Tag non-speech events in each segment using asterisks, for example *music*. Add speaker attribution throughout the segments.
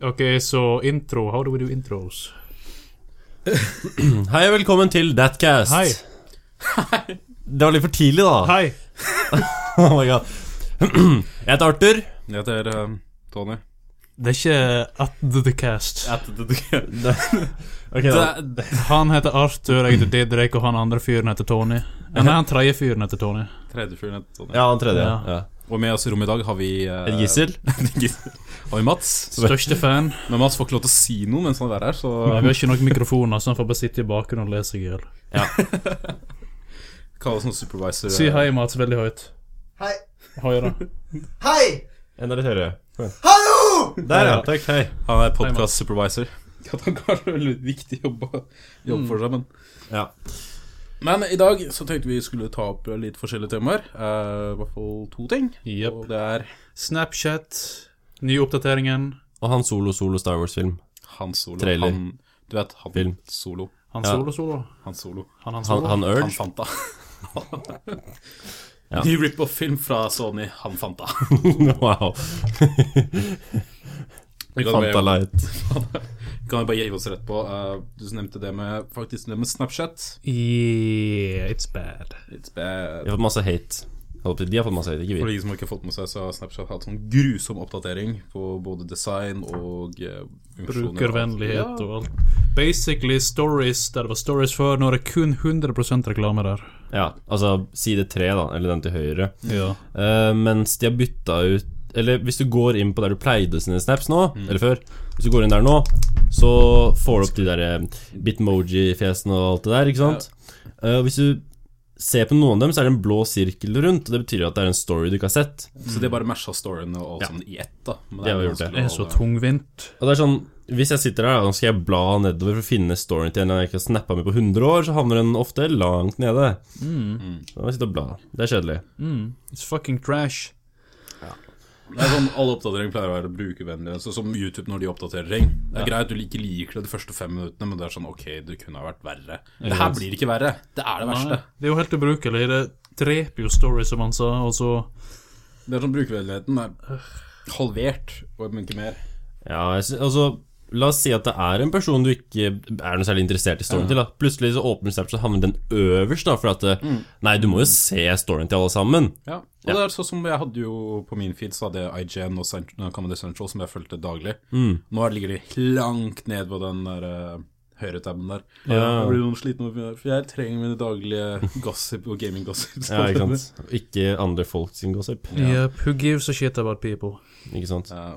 Speaker 1: Okay, så intro. How do we do intros?
Speaker 2: Hei og velkommen til Datcast.
Speaker 1: Hei.
Speaker 2: Det var litt for tidlig, da.
Speaker 1: Hei.
Speaker 2: *laughs* Oh my god. *clears throat* Jeg heter Arthur.
Speaker 3: Jeg heter eh, Tony.
Speaker 1: Det er ikke At the, the Cast.
Speaker 2: *laughs* Ok, da.
Speaker 3: Det-
Speaker 1: Han heter Arthur, jeg heter Didrik, og han andre fyren heter Tony. Ja, Nei, han tredje fyren heter Tony.
Speaker 3: Tredje fyren heter Tony.
Speaker 2: Ja, han tredje.
Speaker 1: Ja.
Speaker 2: Ja.
Speaker 3: Og med oss i rommet i dag har vi eh,
Speaker 2: Et
Speaker 3: *laughs*
Speaker 2: gissel.
Speaker 3: Gissel. Har vi Mats.
Speaker 1: Største fan.
Speaker 3: Men Mats får ikke lov til å si noe mens han er her, så
Speaker 1: Vi har ikke nok mikrofoner, så han får bare sitte i bakgrunnen og lese seg i hjel.
Speaker 3: kall oss noen supervisor.
Speaker 1: Si hei, Mats, veldig høyt.
Speaker 4: Hei.
Speaker 1: Høyere.
Speaker 4: Hei!
Speaker 2: Enda litt høyere.
Speaker 4: Hallo!
Speaker 2: Der, ja. Takk. Hei.
Speaker 3: Han er podkast-supervisor. At han har en veldig viktig jobb, å- jobb for seg, men
Speaker 2: Ja.
Speaker 3: Men i dag så tenkte vi skulle ta opp litt forskjellige temaer. eh, I hvert fall to ting.
Speaker 1: Jepp.
Speaker 3: Og det er
Speaker 1: Snapchat. Nye oppdateringen.
Speaker 2: Og han solo, solo Star Wars-film.
Speaker 3: Han Solo.
Speaker 2: Trailer.
Speaker 3: Han, du vet, han
Speaker 2: Film.
Speaker 3: Solo.
Speaker 1: Han
Speaker 2: Ja.
Speaker 1: solo-solo.
Speaker 3: Han Solo.
Speaker 1: Han, han
Speaker 2: Han,
Speaker 1: solo.
Speaker 2: han
Speaker 3: Han
Speaker 2: Urge.
Speaker 3: Fanta.
Speaker 2: Ja.
Speaker 3: Ny rip-off-film fra Sony. Han Fanta.
Speaker 2: *laughs* wow.
Speaker 3: Vi kan
Speaker 2: Fanta
Speaker 3: bare-
Speaker 2: Light.
Speaker 3: kan vi bare gi oss rett på. eh, du nevnte det med faktisk det med Snapchat.
Speaker 1: Yeah, it's bad.
Speaker 3: It's bad.
Speaker 2: Vi har fått masse hate. Jeg håper De har fått masse hate, ikke
Speaker 3: For
Speaker 2: vi.
Speaker 3: de som ikke har fått med seg, så har Snapchat hatt sånn grusom oppdatering på både design og eh, funksjoner.
Speaker 1: Brukervennlighet
Speaker 2: altså.
Speaker 3: Ja.
Speaker 1: og alt. Basically stories der det var stories før, nå er det kun 100 reklame der.
Speaker 2: Ja, altså side tre, da. Eller den til høyre.
Speaker 1: Ja.
Speaker 2: Eh, mens de har bytta ut Eller hvis du går inn på der du pleide sine snaps nå, eller før Hvis du går inn der nå, så får du opp de der eh, bitmoji-fjesene og alt det der, ikke sant? Eh, og hvis du ser på noen av dem, så er det en blå sirkel rundt, og det betyr at det er en story du ikke har sett.
Speaker 3: Så det bare masha storyene og alt sånn i ett, da. Men
Speaker 2: Det har vi
Speaker 3: jo
Speaker 2: gjort det.
Speaker 1: Det
Speaker 3: vanskelig
Speaker 1: er
Speaker 3: å
Speaker 1: så
Speaker 3: holde-
Speaker 1: tungvint.
Speaker 2: Og det er sånn hvis jeg sitter her, da, skal jeg bla nedover for å finne storyen til en jeg ikke har snappa med på 100 år, så havner den ofte langt nede. Da må jeg sitte og bla. Det er kjedelig.
Speaker 1: It's fucking trash.
Speaker 3: Det er sånn, Alle oppdateringer pleier å være brukervennlige. Så som YouTube når de oppdaterer ting. Det er greit du ikke liker det de første fem minuttene, men det er sånn ok, det kunne ha vært verre. Det her blir ikke verre. Det er det verste.
Speaker 1: Det er jo helt ubrukelig. Det dreper jo stories, som han sa, og så
Speaker 3: Det er sånn Brukervennligheten er halvert, og men ikke mer.
Speaker 2: Ja, jeg sy- altså La oss si at det er en person du ikke er noe særlig interessert i storyen til. Da. Plutselig så åpner Snapchat og havner den øverst, da, for at eh, Nei, du må jo se storyen til alle sammen.
Speaker 3: Ja. Og det er sånn som jeg hadde jo på min feed, så hadde jeg IGN og Cent- nei, Comedy Central som jeg fulgte daglig. Nå ligger de langt ned på den der eh, høyretabben der.
Speaker 2: Ja.
Speaker 3: Jeg blir noen sliten, over- for jeg trenger mine daglige gossip og gaming-gossip.
Speaker 2: Ja, ikke sant? Ikke andre folk sin gossip.
Speaker 1: Yep, who gives a shit about people?
Speaker 2: Ikke sant?
Speaker 3: Ja.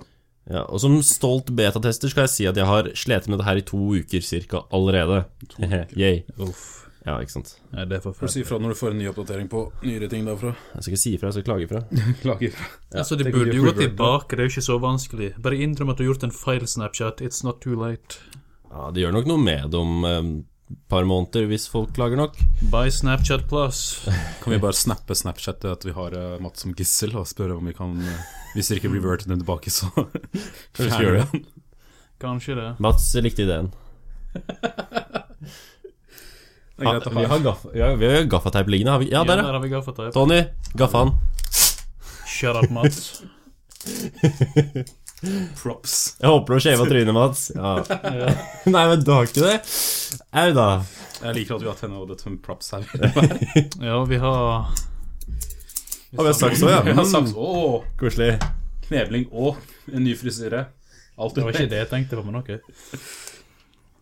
Speaker 2: Ja, og som stolt betatester skal jeg si at jeg har slitt med det her i to uker cirka allerede. *laughs* Yay.
Speaker 1: Uff.
Speaker 2: Ja, ikke sant.
Speaker 1: Nei, det er
Speaker 3: Får du
Speaker 1: forferdelig.
Speaker 3: si ifra når du får en ny oppdatering på nyere ting *laughs* derfra.
Speaker 2: Jeg skal ikke si ifra, jeg skal klage ifra.
Speaker 3: Klager ifra.
Speaker 1: altså, de
Speaker 3: tenk om
Speaker 1: burde
Speaker 3: de
Speaker 1: jo
Speaker 3: har
Speaker 1: gå tilbake, det er jo ikke så vanskelig. Bare innrøm at du har gjort en feil Snapchat. It's not too late.
Speaker 2: Ja, det gjør nok noe med det om eh, par måneder, hvis folk klager nok.
Speaker 1: Buy Snapchat Plus.
Speaker 3: Kan vi bare snappe Snapchat til at vi har eh, Mats som gissel, og spørre om vi kan eh, Hvis dere ikke reverter den tilbake, *laughs* så
Speaker 2: vi skal gjøre
Speaker 3: det.
Speaker 1: *laughs* Kanskje det.
Speaker 2: Mats likte ideen.
Speaker 3: er greit å ha.
Speaker 2: vi har gaff- ja, vi har jo gaffateip liggende, har vi? Ja,
Speaker 1: Ja,
Speaker 2: der, ja.
Speaker 1: der har vi gaffateip.
Speaker 2: Tony, gaffa'n.
Speaker 1: Shut up, *laughs* Mats.
Speaker 3: Props.
Speaker 2: Jeg håper du har shava trynet, Mats. Ja. Nei, men du har ikke det? Au da.
Speaker 3: Jeg liker at vi har tenna og dette med props *laughs* her.
Speaker 1: Ja, vi har
Speaker 2: Har vi har saks òg,
Speaker 3: Vi
Speaker 2: ja?
Speaker 3: har saks og
Speaker 2: Koselig.
Speaker 3: knebling og en ny frisyre. Alt
Speaker 1: Det var ikke
Speaker 3: under.
Speaker 1: det jeg tenkte på, men ok.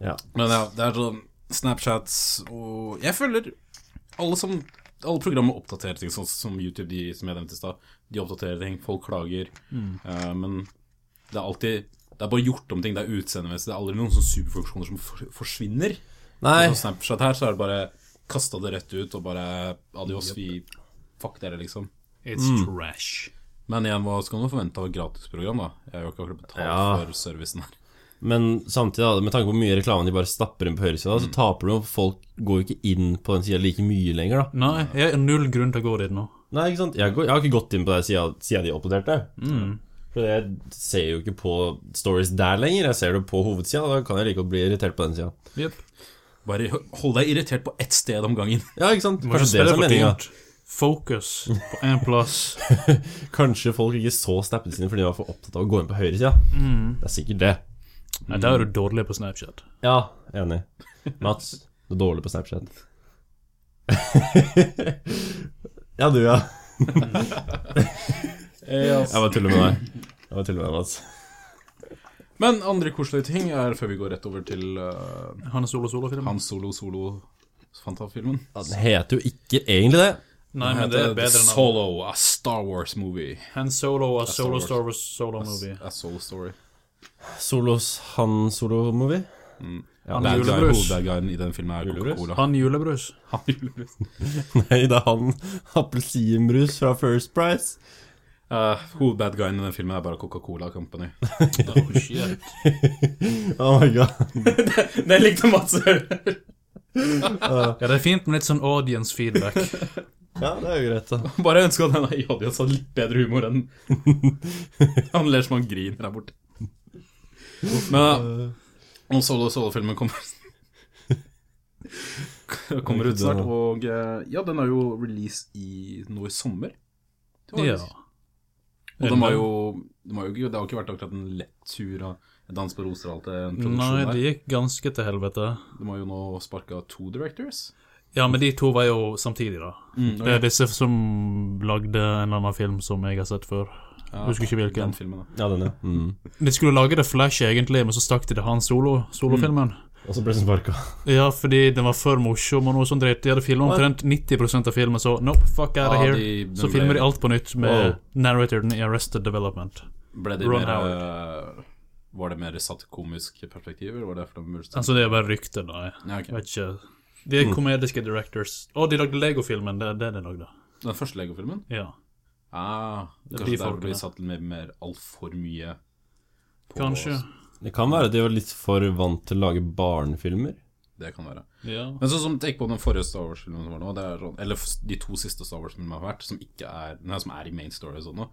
Speaker 2: Ja.
Speaker 3: Men ja, det er sånn Snapchats og Jeg føler alle som alle programmer oppdaterer ting, sånn som YouTube, de som jeg nevnte i stad. De oppdaterer ting, folk klager. Eh, men det er alltid Det er bare gjort om ting. Det er utseendemessig. Det er aldri noen sånne superfunksjoner som for, forsvinner.
Speaker 2: Nei,
Speaker 3: På Snapchat her så er det bare kasta det rett ut og bare adios, vi fuck dere, liksom.
Speaker 1: It's trash.
Speaker 3: Men igjen, hva skal man forvente av et gratisprogram, da? Jeg har jo ikke akkurat betalt
Speaker 2: Ja.
Speaker 3: for servicen her.
Speaker 2: men samtidig, da, med tanke på hvor mye reklame de bare stapper inn på høyresida, så taper du, og folk går jo ikke inn på den sida like mye lenger, da.
Speaker 1: Nei, jeg har null grunn til å gå dit nå.
Speaker 2: Nei, ikke sant? Jeg, går, jeg har ikke gått inn på den sida siden de oppdaterte. Mm. For jeg ser jo ikke på stories der lenger. Jeg ser det på hovedsida, da kan jeg like godt bli irritert på den sida.
Speaker 1: Jepp.
Speaker 3: Bare hold deg irrititert på ett sted om gangen.
Speaker 2: Ja, ikke sant?
Speaker 1: Må ikke
Speaker 2: Kanskje det
Speaker 1: spille
Speaker 2: som er
Speaker 1: for
Speaker 2: meninga.
Speaker 1: dyrt. Fokus på én plass.
Speaker 2: Mm. Kanskje folk ikke så snappene sine fordi de var for opptatt av å gå inn på høyresida. Det er sikkert det.
Speaker 1: Nei, der er du dårlig på Snapchat.
Speaker 2: Ja, enig. Mats, du er dårlig på Snapchat. *laughs* ja, du, ja. Jeg bare tuller med deg. Jeg bare tuller med deg, Mats.
Speaker 3: Men andre koselige ting er før vi går rett over til eh,
Speaker 1: Han er solo-solo-film.
Speaker 3: Hans Solo Solo Fanta-filmen.
Speaker 2: Ja, den heter jo ikke egentlig det.
Speaker 1: Nei, men det er bedre enn han.
Speaker 3: Solo, a Star Wars movie.
Speaker 1: Han Solo og Solo
Speaker 3: Wars.
Speaker 1: Star Wars Solo Movie.
Speaker 3: A Solo Story.
Speaker 2: Solos Han Solo-movie. Ja,
Speaker 1: Han
Speaker 3: Bad
Speaker 1: er
Speaker 3: guy,
Speaker 1: julebrus.
Speaker 3: hovedbad guyen i den filmen er
Speaker 2: Julebrus?
Speaker 3: Coca-Cola.
Speaker 1: Han julebrus.
Speaker 3: *laughs* Han er julebrus.
Speaker 2: *laughs* Nei, det er han appelsinbrus fra First Price.
Speaker 3: Eh, hovedbad guyen i den filmen er bare Coca-Cola
Speaker 1: *laughs*
Speaker 3: Company.
Speaker 1: Oh, shit.
Speaker 2: Oh my god.
Speaker 3: Det likte Mats
Speaker 1: Ja, det er fint med litt sånn audience
Speaker 3: *laughs*
Speaker 1: feedback.
Speaker 2: Ja, det er jo greit, da.
Speaker 3: *laughs* Bare ønske at denne i audience hadde altså, litt bedre humor
Speaker 1: *laughs*
Speaker 3: enn Han ler som han griner der borte. Men ja, og Solo Solo-filmen kommer *laughs* Kommer ut snart, og eh, ja, den er jo release i nå i sommer. Det var-
Speaker 1: Ja.
Speaker 3: Og de har jo, de har jo ikke, det har ikke vært akkurat en lett tur av Dans på roser og alt det en
Speaker 1: Nei,
Speaker 3: produksjon
Speaker 1: det
Speaker 3: der.
Speaker 1: gikk ganske til helvete.
Speaker 3: De har jo nå sparka to directors.
Speaker 1: Ja, men de to var jo samtidig, da. Mm, Det er disse som lagde en eller annen film som jeg har sett før. Husker ikke hvilken.
Speaker 3: Den filmen, da.
Speaker 2: Ja, den, ja. Mm.
Speaker 1: De skulle lage det Flash, egentlig, men så stakk de til han solo, solofilmen.
Speaker 2: Og så ble den sparka.
Speaker 1: Ja, fordi den var for morsom og noe sånt dritt. De hadde filma omtrent 90 av filmen, så nope, fuck out of
Speaker 3: Ja,
Speaker 1: here.
Speaker 3: de- den
Speaker 1: så filmer
Speaker 3: ble-
Speaker 1: de alt på nytt med
Speaker 2: Wow.
Speaker 1: narratoren i Arrested Development.
Speaker 3: Ble det
Speaker 1: Ron
Speaker 3: mer eh, Var det mer satt komisk perspektiv, eller var det derfor de mulig
Speaker 1: Altså, det er bare rykter, da. Jeg
Speaker 3: ja, ok.
Speaker 1: vet ikke. De er komediske directors. Å, de lagde Lego-filmen. Det er det de lagde.
Speaker 3: Den første Lego-filmen?
Speaker 1: Ja.
Speaker 3: Ah,
Speaker 1: blir
Speaker 3: kanskje der
Speaker 1: folkene.
Speaker 3: ble satt mer, mer altfor mye på
Speaker 1: Kanskje.
Speaker 2: Det kan være at de var litt for vant til å lage barnefilmer.
Speaker 3: Det kan være.
Speaker 1: Ja.
Speaker 3: Men sånn som tenk på den forrige Star Wars-filmen som var nå, det er sånn, eller f- de to siste Star Wars-filmene har vært, som ikke er nei, som er i main story og sånn nå.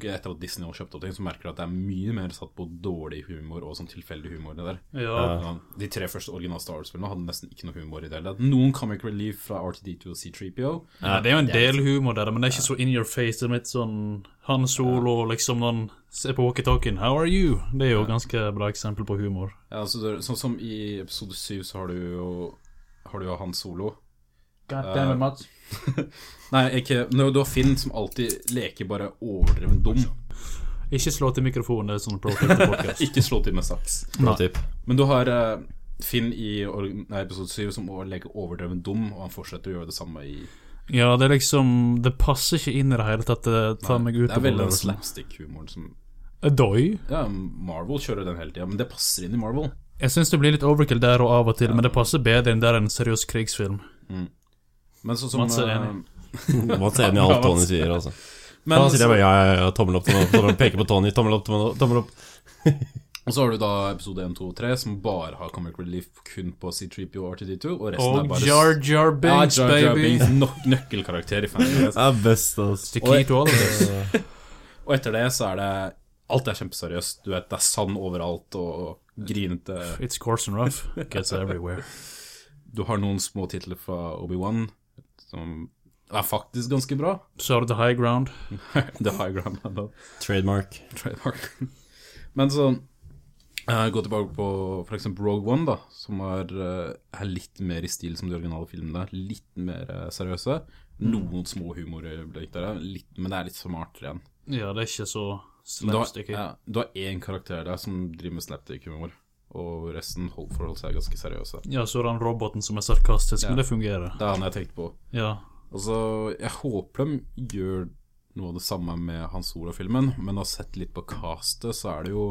Speaker 3: Etter at Disney har kjøpt opp ting, så merker du at det er mye mer satt på dårlig humor og sånn tilfeldig humor. det der.
Speaker 1: ja.
Speaker 3: Ja, De tre første original Star Wars-filmene hadde nesten ikke noe humor i det hele tatt. Noen comic relief fra RTD2 og C3PO.
Speaker 1: Nei, det er jo en del humor der, men det er ikke så in your face. Det er litt sånn Han Solo og liksom når han ser på walkietalkien 'How are you?' Det er jo ganske bra eksempel på humor.
Speaker 3: Ja, altså, det- sånn som i episode 7 så har du jo har du jo Han Solo. Eh,
Speaker 1: God damn it, Mats.
Speaker 3: *laughs* Nei, ikke no, Du har Finn som alltid leker bare overdreven dum.
Speaker 1: Ikke slå til mikrofonen, det er sånn pro-podcast.
Speaker 3: Ikke slå til med saks.
Speaker 2: Bra tipp.
Speaker 3: Men du har eh, Finn i or- nei, episode 7 som å leke overdreven dum, og han fortsetter å gjøre det samme i
Speaker 1: ja, det er liksom Det passer ikke inn i det hele tatt. Det tar meg ut
Speaker 3: Det er
Speaker 1: av
Speaker 3: vel den
Speaker 1: opplevelsen.
Speaker 3: slapstick-humoren som
Speaker 1: Doi.
Speaker 3: Ja, Marvel kjører den hele tida, men det passer inn i Marvel.
Speaker 1: Jeg syns det blir litt overkill der og av og til, men det passer bedre enn der en seriøs krigsfilm.
Speaker 3: Men sånn som
Speaker 1: Mats er
Speaker 3: eh,
Speaker 1: enig.
Speaker 2: Mats er enig i alt Tony sier, altså.
Speaker 3: men
Speaker 2: da sier jeg bare ja, ja, ja, tommel opp, tommel opp, tommel opp peker på Tony, tommel opp, tommel opp. Tommel opp.
Speaker 3: Og så har du da episode 1, 2 og 3, som bare har comic relief kun på C3PO og RTD2, og resten er
Speaker 1: Og
Speaker 3: bare
Speaker 1: Oh, Jar Jar Binks,
Speaker 3: ja, Jar Jar
Speaker 1: baby.
Speaker 3: Binks, nok nøkkelkarakter i fangenes.
Speaker 2: Det er best, altså.
Speaker 1: The key to all of this.
Speaker 3: *laughs* Og etter det så er det Alt er kjempeseriøst. Du vet, det er sand overalt og grinete.
Speaker 1: It's coarse and rough. Gets everywhere.
Speaker 3: *laughs* Du har noen små titler fra Obi-Wan som er faktisk ganske bra. *laughs*
Speaker 1: Så har du The High Ground.
Speaker 3: The High Ground er da
Speaker 2: Trademark.
Speaker 3: trademark. Men så eh, Gå tilbake på for eksempel Rogue One, da, som er, eh, er litt mer i stil som de originale filmene. Litt mer eh, seriøse.
Speaker 1: Mm.
Speaker 3: Noen små humorøyeblikk der, litt, men det er litt smartere igjen.
Speaker 1: Ja, det er ikke så
Speaker 3: Du har,
Speaker 1: slapsticky.
Speaker 3: ja, du har én karakter der som driver med slapstick-humor, og resten hold- forholder seg ganske seriøse.
Speaker 1: Ja, så er den roboten som er sarkastisk, men det fungerer.
Speaker 3: Det er han jeg tenkte på.
Speaker 1: Ja.
Speaker 3: Altså, jeg håper de gjør noe av det samme med Hans Ola-filmen, men har sett litt på castet, så er det jo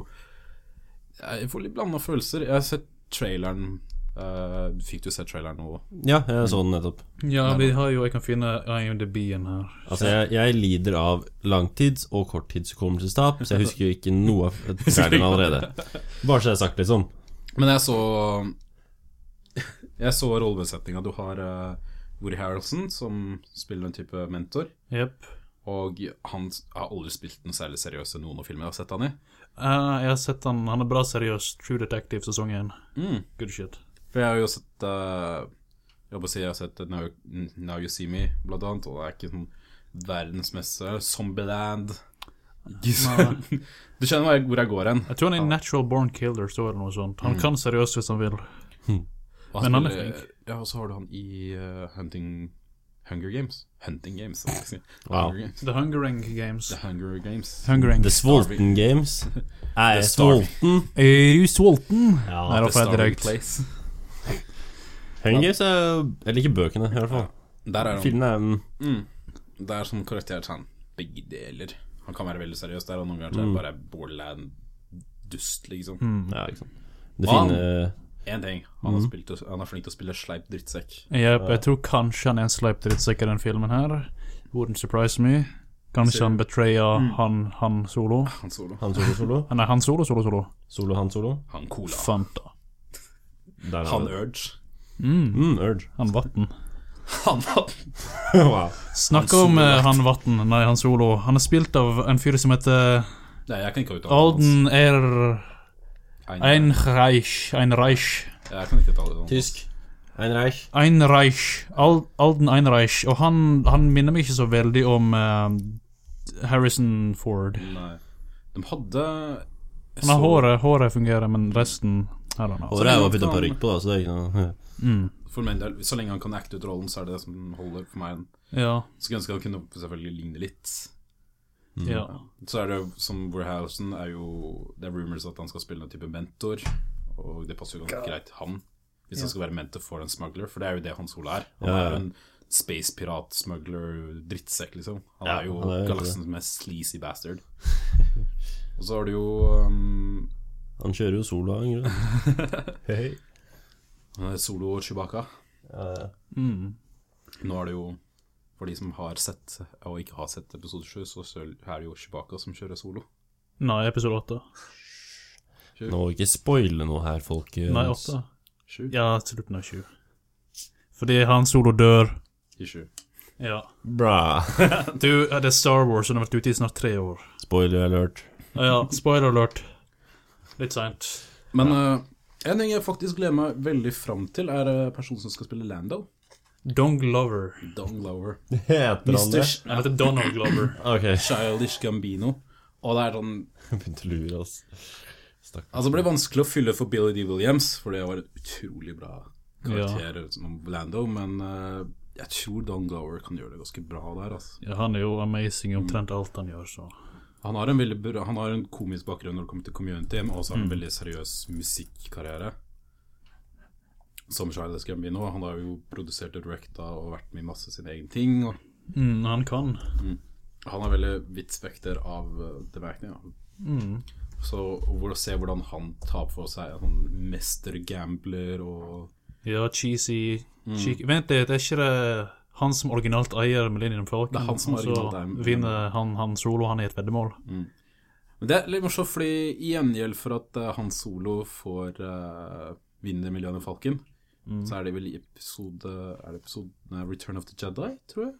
Speaker 3: Jeg får litt blanda følelser. Jeg har sett traileren eh, Fikk du sett traileren nå?
Speaker 2: Ja, jeg så den nettopp.
Speaker 1: ja, vi har jo Jeg kan finne IMDb-en her.
Speaker 2: Altså, jeg, jeg lider av langtids- og korttidshukommelsestap, så jeg husker jo ikke noe
Speaker 3: *laughs*
Speaker 2: av traileren allerede. Bare så jeg har sagt, liksom.
Speaker 3: Men jeg så Jeg så rollebesetninga. Du har eh, Woody Harrelson, som spiller en type mentor.
Speaker 1: Jepp.
Speaker 3: Og han har aldri spilt noe særlig seriøs i noen av filmene jeg har sett han i.
Speaker 1: Eh, jeg har sett han Han er bra seriøs. True Detective sesong 1.
Speaker 3: Mm.
Speaker 1: Good shit.
Speaker 3: For jeg har jo sett eh, Jeg holdt på å si jeg har sett Now, Now You See Me, blant annet, og det er ikke sånn verdens meste Zombieland *laughs* Ikke sant? Du skjønner hvor jeg- hvor jeg går hen.
Speaker 1: Jeg tror han er natural born killer, står det noe sånt.
Speaker 3: Mm.
Speaker 1: Han kan seriøst hvis han vil.
Speaker 3: Og
Speaker 1: Men han er
Speaker 3: spiller-
Speaker 1: flink.
Speaker 3: eh, Ja, og så har du han i eh, Hunting Hunger Games. Hunting Games, skal jeg si.
Speaker 2: Wow.
Speaker 3: Hunger Games.
Speaker 1: The Hungering Games.
Speaker 3: The Hunger Games.
Speaker 1: Hungering.
Speaker 2: The Svolten Games. Er jeg
Speaker 3: Starving.
Speaker 2: sulten?
Speaker 1: Er du sulten?
Speaker 2: Ja,
Speaker 1: Eh, Nei, da får
Speaker 3: Ah, The
Speaker 1: jeg
Speaker 3: Starving
Speaker 1: direkte.
Speaker 3: Place.
Speaker 2: Hunger Games er Jeg liker bøkene, i hvert fall.
Speaker 3: Der er han.
Speaker 2: Filmen er mm,
Speaker 3: Det er som karakter sånn begge deler. Han kan være veldig seriøs der, og noen ganger så er
Speaker 1: Mm.
Speaker 3: han bare borderland dust, liksom.
Speaker 2: Ja, ikke sant. Det
Speaker 3: Wow.
Speaker 2: fine
Speaker 3: Én ting, han, har spilt, han er flink til å spille sleip drittsekk.
Speaker 1: Jep, jeg tror kanskje han er en sleip drittsekk i den filmen her. Wouldn't surprise me. Kanskje han betrayer
Speaker 3: Mm.
Speaker 1: han, han solo. Ah,
Speaker 3: Han solo.
Speaker 2: Han solo, solo.
Speaker 1: Nei, han solo, solo, solo.
Speaker 2: Solo, han solo.
Speaker 3: Han cola.
Speaker 1: Fanta.
Speaker 2: Der er
Speaker 3: Han
Speaker 2: det.
Speaker 3: urge. *laughs*
Speaker 2: Mm, Urge.
Speaker 1: Han Vatten.
Speaker 3: Han
Speaker 2: wow.
Speaker 1: Snakk om eh, han Vatten, nei, han solo. Han er spilt av en fyr som heter
Speaker 3: Nei, jeg kan ikke uttale
Speaker 1: Alden Er
Speaker 3: Ein.
Speaker 1: Einreich. Einreich.
Speaker 3: Jeg kan ikke uttale det.
Speaker 2: Tysk. Ein Reich.
Speaker 1: Einreich. Al Alden Einreich. Og han, han minner meg ikke så veldig om eh, Harrison Ford.
Speaker 3: Nei. De hadde
Speaker 1: Han har håret, håret fungerer, men resten I don't know.
Speaker 2: Og det er jo å putte en parykk på, da, så det er ikke noe
Speaker 3: For min del, så lenge han kan acte ut rollen, så er det det som holder for meg.
Speaker 1: Ja.
Speaker 3: Skulle ønske han kunne selvfølgelig ligne litt.
Speaker 1: ja.
Speaker 3: Så er det jo som Warehousen er jo Det er rumors at han skal spille en type mentor, og det passer jo ganske greit han. Hvis han skal være mentor for en smuggler, for det er jo det Hans Ole er. Han
Speaker 2: Ja, ja.
Speaker 3: er jo en spacepirat, smuggler, drittsekk, liksom. Han
Speaker 2: Ja,
Speaker 3: er jo
Speaker 2: han er jo
Speaker 3: galaksens mest sleazy
Speaker 2: *laughs*
Speaker 3: bastard. og så har du jo um,
Speaker 2: Han kjører jo solo, han gjør
Speaker 1: *laughs*
Speaker 2: det. Hei, hei.
Speaker 3: Solo og Chewbacca.
Speaker 2: Ja, ja.
Speaker 3: Nå er det jo for de som har sett, og ikke har sett episode 7, så søl- er det jo Chewbacca som kjører solo.
Speaker 1: Nei, episode åtte.
Speaker 2: Nå må vi ikke spoile noe her, folkens.
Speaker 1: Nei, åtte.
Speaker 3: Sju?
Speaker 1: Ja, slutten av sju. Fordi han solo dør.
Speaker 3: I 7.
Speaker 1: Ja.
Speaker 2: Bra.
Speaker 1: Du, det er Star Wars, og den har vært ute i snart tre år.
Speaker 2: Spoiler alert.
Speaker 1: Ja, spoiler alert. Litt seint.
Speaker 3: Men eh, en ting jeg faktisk gleder meg veldig fram til, er eh, personen som skal spille Lando.
Speaker 1: Dong Glover.
Speaker 3: Don Glover.
Speaker 2: Heter han det?
Speaker 3: Mr. Sh-
Speaker 1: Han heter Donald Glover.
Speaker 2: Ok. *laughs*
Speaker 3: Childish Gambino. Og det er sånn
Speaker 2: Jeg begynte å lure, altså.
Speaker 3: Altså, det ble vanskelig å fylle for Billy D. Williams, for det var en utrolig bra karakter som Lando, men eh, jeg tror Don Glover kan gjøre det ganske bra der, altså.
Speaker 1: Ja, han er jo amazing i omtrent alt han gjør, så
Speaker 3: Han har en veldig bra, han har en komisk bakgrunn når det kommer til community, men også har han en veldig seriøs musikkarriere. Som Charles Gambino. Han har jo produsert og directa og vært med i masse sine egne ting. Og
Speaker 1: mm, Han kan.
Speaker 3: han er veldig vidt spekter av uh, bemerkninger. Så hvor å se hvordan han tar på seg en sånn mestergambler og
Speaker 1: Ja, cheesy
Speaker 3: Mm.
Speaker 1: cheeky. Vent litt, er ikke det han som originalt eier Millennium Falcon?
Speaker 3: Det er han som
Speaker 1: og
Speaker 3: originalt eier-
Speaker 1: Så vinner han, han solo, han i et veddemål.
Speaker 3: Men det er litt morsomt, fordi i gjengjeld for at eh, han solo får uh, vinne Miljøene Falken, så er det vel i episode Er det episode nei, Return of the Jedi, tror jeg?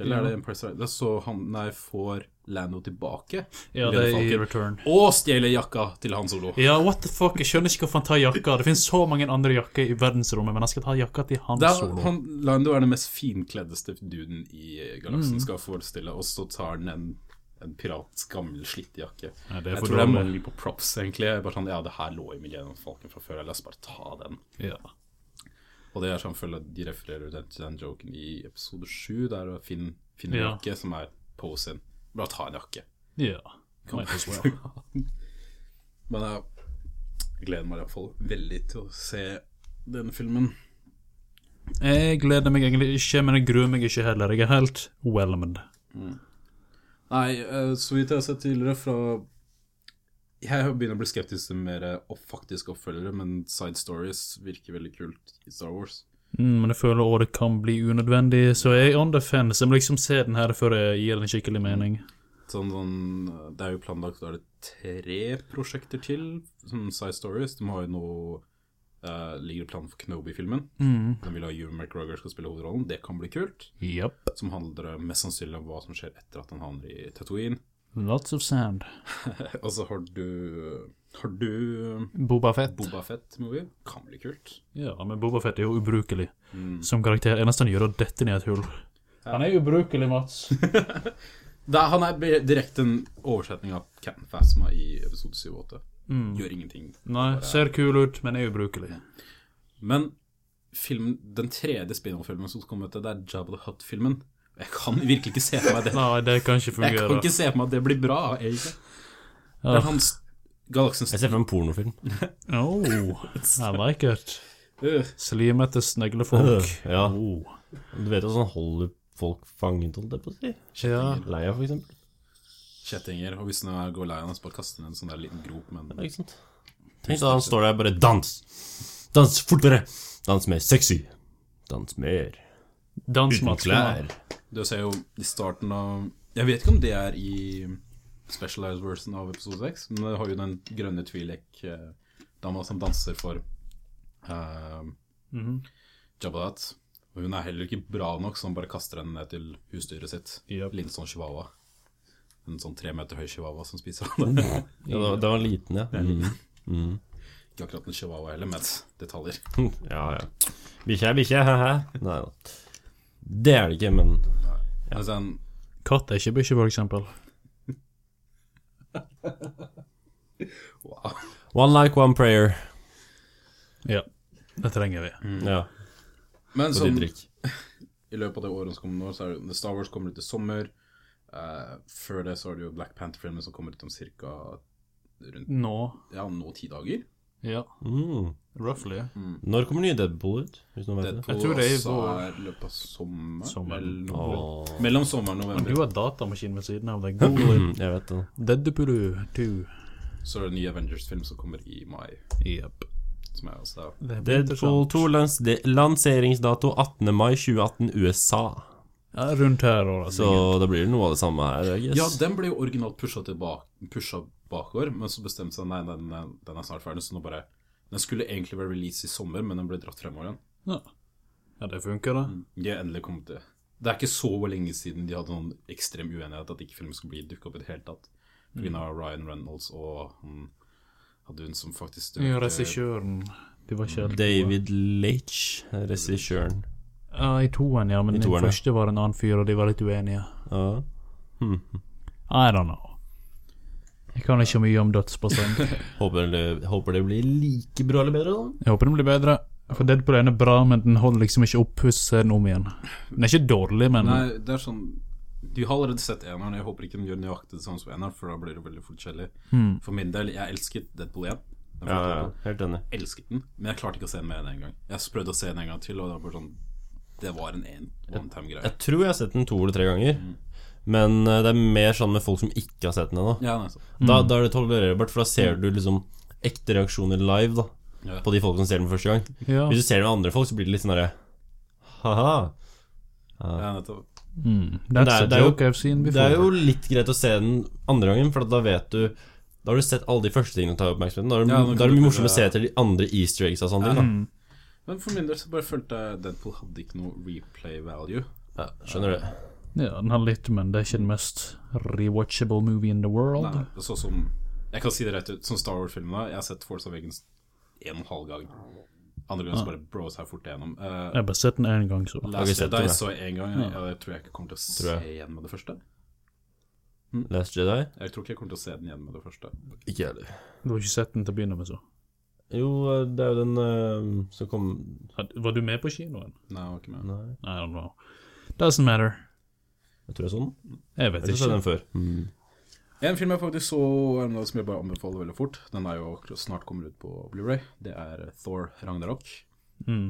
Speaker 3: Eller er det Empire Strikes Back? Så han nei, får Lando tilbake.
Speaker 1: Ja, det
Speaker 3: Millennium
Speaker 1: er i
Speaker 3: Falcon,
Speaker 1: Return.
Speaker 3: Og stjeler jakka til han solo.
Speaker 1: Ja, what the fuck, jeg skjønner ikke hvorfor han tar jakka. Det finnes så mange andre jakker i verdensrommet, men han skal ta jakka til han
Speaker 3: Det er,
Speaker 1: solo.
Speaker 3: han, Lando er den mest finkleddeste duden i galaksen,
Speaker 1: Mm.
Speaker 3: skal jeg forestille, og så tar han en, en pirats gammel, slitt jakke.
Speaker 1: Ja, det er
Speaker 3: jeg
Speaker 1: for
Speaker 3: tror det er
Speaker 1: dårlig.
Speaker 3: mangel på props, egentlig. Bare sånn, ja, det her lå i Millennium Falcon fra før, la oss bare ta den.
Speaker 1: Ja.
Speaker 3: Og det er sånn føler jeg de refererer ut den- til den joken i episode 7, der Finn finner en
Speaker 1: Ja.
Speaker 3: jakke som er Poe sin. Bare ta en jakke.
Speaker 1: ja.
Speaker 3: Kan
Speaker 1: Might as well.
Speaker 3: *laughs* Men jeg gleder meg iallfall veldig til å se denne filmen.
Speaker 1: Jeg gleder meg egentlig ikke, men jeg gruer meg ikke heller. Jeg er helt whelmed.
Speaker 3: Nei, eh, så vidt jeg har sett tidligere fra Jeg begynner å bli skeptisk til mer eh, opp- faktiske oppfølgere, men side stories virker veldig kult i Star Wars.
Speaker 1: Mm, men jeg føler også det kan bli unødvendig, så jeg er on the fence. Jeg må liksom se den her før jeg gir den skikkelig mening.
Speaker 3: Sånn, sånn, det er jo planlagt da er det tre prosjekter til, som Side Stories. De har jo nå eh, ligger planen for Kenobi-filmen. De vil ha Hugh McGregor skal spille hovedrollen. Det kan bli kult.
Speaker 1: Yep.
Speaker 3: Som handler mest sannsynlig om hva som skjer etter at han havner i Tatooine. *laughs*
Speaker 1: Lots of sand.
Speaker 3: Og så har du Har du
Speaker 1: Boba Fett.
Speaker 3: Boba Fett-movie. Kan bli kult.
Speaker 1: Ja, men Boba Fett er jo ubrukelig
Speaker 2: Mm.
Speaker 1: som karakter. Eneste han gjør, er å dette ned i et hull. Han er ubrukelig, Mats.
Speaker 3: Det er, han er be- direkte en oversetning av Captain Phasma i episode 7 og 8. Gjør ingenting.
Speaker 1: *laughs* Nei, ser kul ut, men er ubrukelig.
Speaker 3: Men filmen, den tredje spin-off-filmen som kom ut, det er Jabba the Hutt-filmen. Jeg kan virkelig ikke se for
Speaker 1: *laughs*
Speaker 3: meg det.
Speaker 1: Nei, det kan ikke
Speaker 3: Jeg kan
Speaker 1: fungere.
Speaker 3: ikke se for meg at det blir bra. egentlig. Det er hans galaksens
Speaker 2: Jeg ser for meg en
Speaker 1: *laughs*
Speaker 2: pornofilm. *laughs*
Speaker 1: Oh, I like it.
Speaker 3: Øh,
Speaker 1: Slimete sneglefolk.
Speaker 2: Ja.
Speaker 1: Oh.
Speaker 2: Du vet jo sånn holder folk fanget, holdt jeg på å si.
Speaker 1: Ja.
Speaker 2: Leia, for eksempel.
Speaker 3: kjettinger. Og hvis den er- går lei av den, så bare kaster den i en sånn der liten grop. Men
Speaker 2: Ja, ikke sant? Tenk da han står der bare Dans! Dans fortere! Dans mer sexy! Dans mer
Speaker 1: Dans,
Speaker 2: uten
Speaker 1: Mats.
Speaker 2: klær.
Speaker 3: du ser jo i starten av Jeg vet ikke om det er i specialized version av episode 6, men det har jo den grønne Tvilek-dama som danser for uh, Jabba the Hutt. Og hun er heller ikke bra nok, så hun bare kaster henne ned til husdyret sitt.
Speaker 1: Yep.
Speaker 3: Litt sånn chihuahua. En sånn tre meter høy chihuahua som spiser henne.
Speaker 2: Ja, da, da var han liten, ja. Mm.
Speaker 3: ikke akkurat en chihuahua heller, men detaljer.
Speaker 2: *laughs* Ja, ja. Bikkje er bikkje, hæ-hæ. Nei da. Det er det ikke, men
Speaker 3: Altså, en,
Speaker 1: Katt er ikke bikkje, for eksempel.
Speaker 3: wow.
Speaker 2: One like, one prayer.
Speaker 1: Ja. Det trenger vi.
Speaker 2: Ja.
Speaker 3: Men
Speaker 2: Og
Speaker 3: sånn,
Speaker 2: Didrik.
Speaker 3: i løpet av det året som kommer nå, så er det Star Wars kommer ut i sommer. Eh, før det så er det jo Black Panther-filmen som kommer ut om ca. rundt
Speaker 1: Nå.
Speaker 3: ja, nå ti dager.
Speaker 1: Ja.
Speaker 2: Mm.
Speaker 1: Roughly.
Speaker 2: Når kommer nye Deadpool ut? Hvis noen vet det.
Speaker 3: Deadpool
Speaker 1: Jeg tror det er i
Speaker 3: også
Speaker 1: vår.
Speaker 3: er i løpet av sommer,
Speaker 1: Sommer.
Speaker 3: eller november.
Speaker 2: Åh.
Speaker 3: Mellom sommeren og
Speaker 1: Du
Speaker 3: november
Speaker 1: har datamaskin ved siden av deg. Google it.
Speaker 2: Mm, Jeg vet det.
Speaker 1: Deadpool 2.
Speaker 3: så er det en ny Avengers-film som kommer i mai.
Speaker 1: Yep.
Speaker 3: Som er også der.
Speaker 1: Det blir
Speaker 2: Deadpool
Speaker 1: interessant.
Speaker 2: 2 lans de- lanseringsdato 18. mai 2018 USA.
Speaker 1: Ja, rundt her og da.
Speaker 2: Så da blir det noe av det samme her, I guess.
Speaker 3: Ja, den ble jo originalt pusha tilbake, pusha bakover, men så bestemte seg nei, den, den, den er snart ferdig, så nå bare Den skulle egentlig være release i sommer, men den ble dratt fremover igjen.
Speaker 1: Ja. ja, det funker, da.
Speaker 3: De har endelig kommet til Det er ikke så lenge siden de hadde noen ekstrem uenighet at ikke filmen skulle bli dukket opp i det hele tatt. På grunn av Ryan Reynolds og han hadde hun som faktisk
Speaker 1: Ja,
Speaker 3: døde-
Speaker 1: Regissøren De var ikke helt
Speaker 2: David Leitch, regissøren.
Speaker 1: Ja, I toeren, ja. Men i
Speaker 2: toeren,
Speaker 1: den
Speaker 2: ja.
Speaker 1: første var det en annen fyr, og de var litt uenige.
Speaker 2: Ja. Hmm.
Speaker 1: I don't know. Jeg kan ikke mye om dødsbasseng.
Speaker 2: Håper, det- håper det blir like bra eller bedre,
Speaker 1: *laughs*
Speaker 2: da.
Speaker 1: Jeg håper den blir bedre. For Deadpool 1 er bra, men den holder liksom ikke opp hvis du ser den om igjen. Den er ikke dårlig, men
Speaker 3: Nei, det er sånn Du har allerede sett eneren, jeg håper ikke den gjør nøyaktig det samme som eneren, for da blir det veldig forskjellig. For min del, jeg elsket Deadpool 1.
Speaker 2: Ja,
Speaker 3: Den første
Speaker 2: ja,
Speaker 3: Deadpool.
Speaker 2: ja, helt enig.
Speaker 3: Elsket den, men jeg klarte ikke å se den mer enn en gang. Jeg prøvde å se den en gang til, og det var bare sånn Det var en en one time-greie.
Speaker 2: Jeg tror jeg har sett den to eller tre ganger.
Speaker 1: Mm.
Speaker 2: Men eh, det er mer sånn med folk som ikke har sett den ennå.
Speaker 3: Ja, nei, så.
Speaker 1: Mm.
Speaker 2: Da, da er det tolererbart, for da ser du liksom ekte reaksjoner live da
Speaker 3: Ja.
Speaker 2: på de folk som ser den for første gang.
Speaker 1: Ja.
Speaker 2: Hvis du ser den med andre folk, så blir det litt sånn derre Ha-ha.
Speaker 3: Ja, nettopp.
Speaker 2: det
Speaker 1: that's
Speaker 2: er-
Speaker 1: a
Speaker 2: det er jo-
Speaker 1: joke I've seen
Speaker 2: Det er
Speaker 1: before.
Speaker 2: jo litt greit å se den andre gangen, for at da vet du Da har du sett alle de første tingene som tar oppmerksomheten. Da er det,
Speaker 3: Ja, nå kan
Speaker 2: da er det
Speaker 3: du
Speaker 2: mye morsomt å se
Speaker 3: prøve-
Speaker 2: etter de andre easter eggs og sånn. Ja.
Speaker 1: Mm.
Speaker 3: Men for min del så bare følte jeg Deadpool hadde ikke noe replay value.
Speaker 2: Ja, skjønner du?
Speaker 1: Ja, den har litt, men det er ikke den mest rewatchable movie in the world.
Speaker 3: Nei, så som Jeg kan si det rett ut, som Star Wars-filmene. Jeg har sett Force Awakens en og en halv gang. Andre gang så bare bros her fort igjennom. Eh,
Speaker 1: Jeg har bare sett den én gang, så.
Speaker 2: vi
Speaker 3: Last
Speaker 2: sett
Speaker 3: Jedi
Speaker 2: det?
Speaker 3: så jeg en gang, og jeg tror jeg ikke kommer til å se
Speaker 2: Tror jeg.
Speaker 3: igjen med det første.
Speaker 2: Last Jedi?
Speaker 3: Jeg tror ikke jeg kommer til å se den igjen med det første.
Speaker 2: Ikke jeg heller.
Speaker 1: Du har ikke sett den til å begynne med, så.
Speaker 2: Jo, det er jo den eh, som kom
Speaker 1: Had- Var du med på kinoen?
Speaker 3: Nei, jeg var ikke med.
Speaker 1: Nei, I don't know. Doesn't matter.
Speaker 2: Jeg tror jeg så den.
Speaker 1: Jeg vet
Speaker 2: Jeg tror jeg så
Speaker 3: sånn?
Speaker 1: ikke.
Speaker 2: den før.
Speaker 3: En film jeg faktisk så um, som jeg bare anbefaler veldig fort, den er jo snart kommer ut på Blu-ray, det er eh, Thor Ragnarok.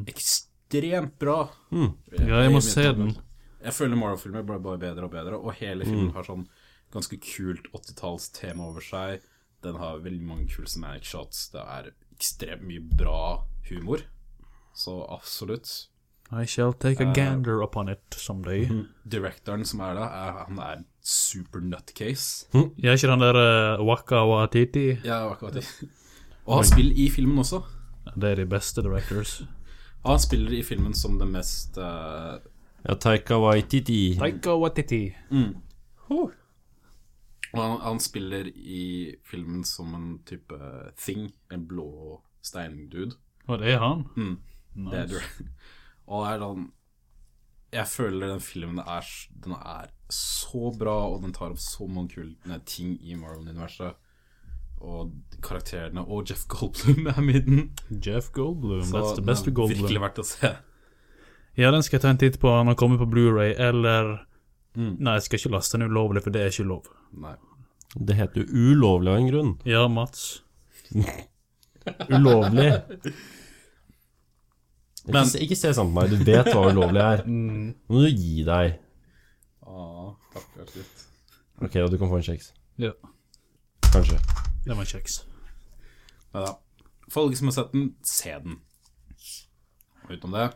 Speaker 3: Ekstremt bra.
Speaker 1: Mm. Ja, jeg må
Speaker 3: i mitt
Speaker 1: se den.
Speaker 3: hode. Jeg føler Marvel-filmer ble bare bedre og bedre, og hele
Speaker 1: Mm.
Speaker 3: filmen har sånn ganske kult 80-tallstema over seg. Den har veldig mange kule cinematic shots. Det er ekstremt mye bra humor. Så absolutt.
Speaker 1: I shall take a gander upon it someday.
Speaker 3: Mhm. Directoren som er der, er, han er super nutcase.
Speaker 1: Jeg er ikke den der eh, Waka Watiti?
Speaker 3: Ja, akkurat det. Og han spiller i filmen også.
Speaker 1: Det er de beste directors.
Speaker 3: Han spiller i filmen som den mest eh,
Speaker 2: Ja, Taika Waititi.
Speaker 1: Taika Watiti.
Speaker 3: Og han, han spiller i filmen som en type thing. En blå steindude.
Speaker 1: Og det er han?
Speaker 3: Mm. *laughs* Det er du. Og er sånn Jeg føler den filmen er s- Den er så bra, og den tar opp så mange kule ting i Marvel-universet. Og karakterene Og Jeff *laughs* Goldblum er med i den.
Speaker 1: Jeff Goldblum.
Speaker 3: Så
Speaker 1: That's the
Speaker 3: den
Speaker 1: best
Speaker 3: er
Speaker 1: Goldblum.
Speaker 3: virkelig verdt å se.
Speaker 1: Ja, den skal jeg ta en titt på når den kommer på Blu-ray eller
Speaker 3: Mm.
Speaker 1: Nei, jeg skal ikke laste den ulovlig, for det er ikke lov.
Speaker 3: Nei.
Speaker 2: Det heter jo ulovlig av en grunn.
Speaker 1: Ja, Mats.
Speaker 2: Ulovlig.
Speaker 3: Men-
Speaker 2: ikke, se- ikke se sånn på meg, du vet hva ulovlig er. Nå må du gi deg.
Speaker 3: Ah, stakkars gutt.
Speaker 2: Ok, da du kan få en kjeks.
Speaker 1: Ja,
Speaker 2: Kanskje.
Speaker 1: det var en kjeks.
Speaker 3: Nei da. For alle som har sett den, se den. Og utenom det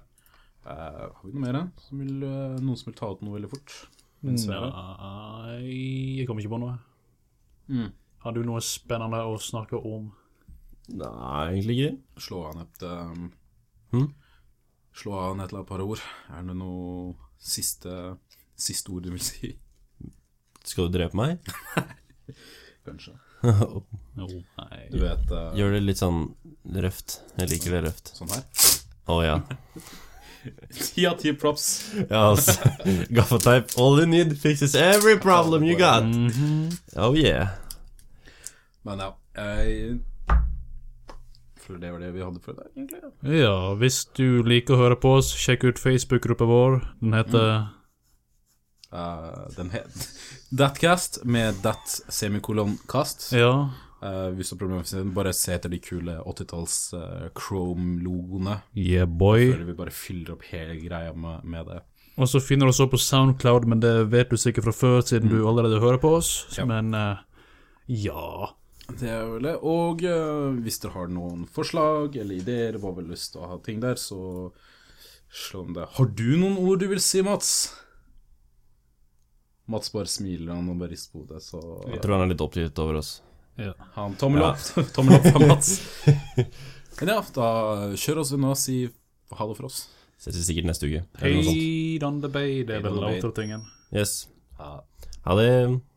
Speaker 3: eh, Har vi noe mer? eh, Som vil, eh, noen som vil ta ut noe veldig fort? Mens vi er her?
Speaker 1: Nei, jeg kommer ikke på noe.
Speaker 3: Mm.
Speaker 1: Har du noe spennende å snakke om?
Speaker 2: Nei, egentlig ikke.
Speaker 3: Slå an et um,
Speaker 2: Mm.
Speaker 3: Slå an et eller annet par ord. Er det noe siste, siste ord du vil si?
Speaker 2: Skal du drepe meg? *laughs*
Speaker 3: Kanskje.
Speaker 1: Jo, nei.
Speaker 3: Du vet eh,
Speaker 2: Gjør det litt sånn røft. Jeg liker det røft.
Speaker 3: sånn *laughs* her?
Speaker 2: Å ja.
Speaker 3: Ti av ti props.
Speaker 2: Ja, altså. *laughs* Gaffateip. All you need fixes every problem you got.
Speaker 1: Mm-hmm.
Speaker 2: Oh yeah.
Speaker 3: Men ja, jeg føler det var det vi hadde for i dag, egentlig.
Speaker 1: Ja, hvis du liker å høre på oss, sjekk ut Facebook-gruppa vår. Den heter
Speaker 3: Eh, den *laughs* het Thatcast med that semikolon cast.
Speaker 1: Ja.
Speaker 3: Eh, hvis du har problemer med siden, bare se etter de kule 80-talls eh, Chrome-logoene.
Speaker 1: Yeah, boy.
Speaker 3: Føler vi bare fyller opp hele greia med, med det.
Speaker 1: Og så finner du oss også på Soundcloud, men det vet du sikkert fra før, siden du allerede hører på oss.
Speaker 3: Ja.
Speaker 1: Men eh, ja.
Speaker 3: Det er vel det. Og eh, hvis dere har noen forslag eller ideer, hva vel lyst til å ha ting der, så slå om det. Har du noen ord du vil si, Mats? Mats bare smiler han og bare rister på hodet, så
Speaker 2: Jeg tror han er litt oppgitt over oss.
Speaker 1: ja.
Speaker 3: ha en tommel opp. *laughs* tommel opp fra Mats. *laughs* Men ja, da kjør oss unna og si ha det for oss.
Speaker 2: Ses vi sikkert neste uke. Eller noe sånt.
Speaker 1: Paid on the bay, det er
Speaker 3: Paid on
Speaker 1: vel
Speaker 3: the bay.
Speaker 1: outertingen.
Speaker 2: Yes.
Speaker 3: Ha
Speaker 2: Ha det.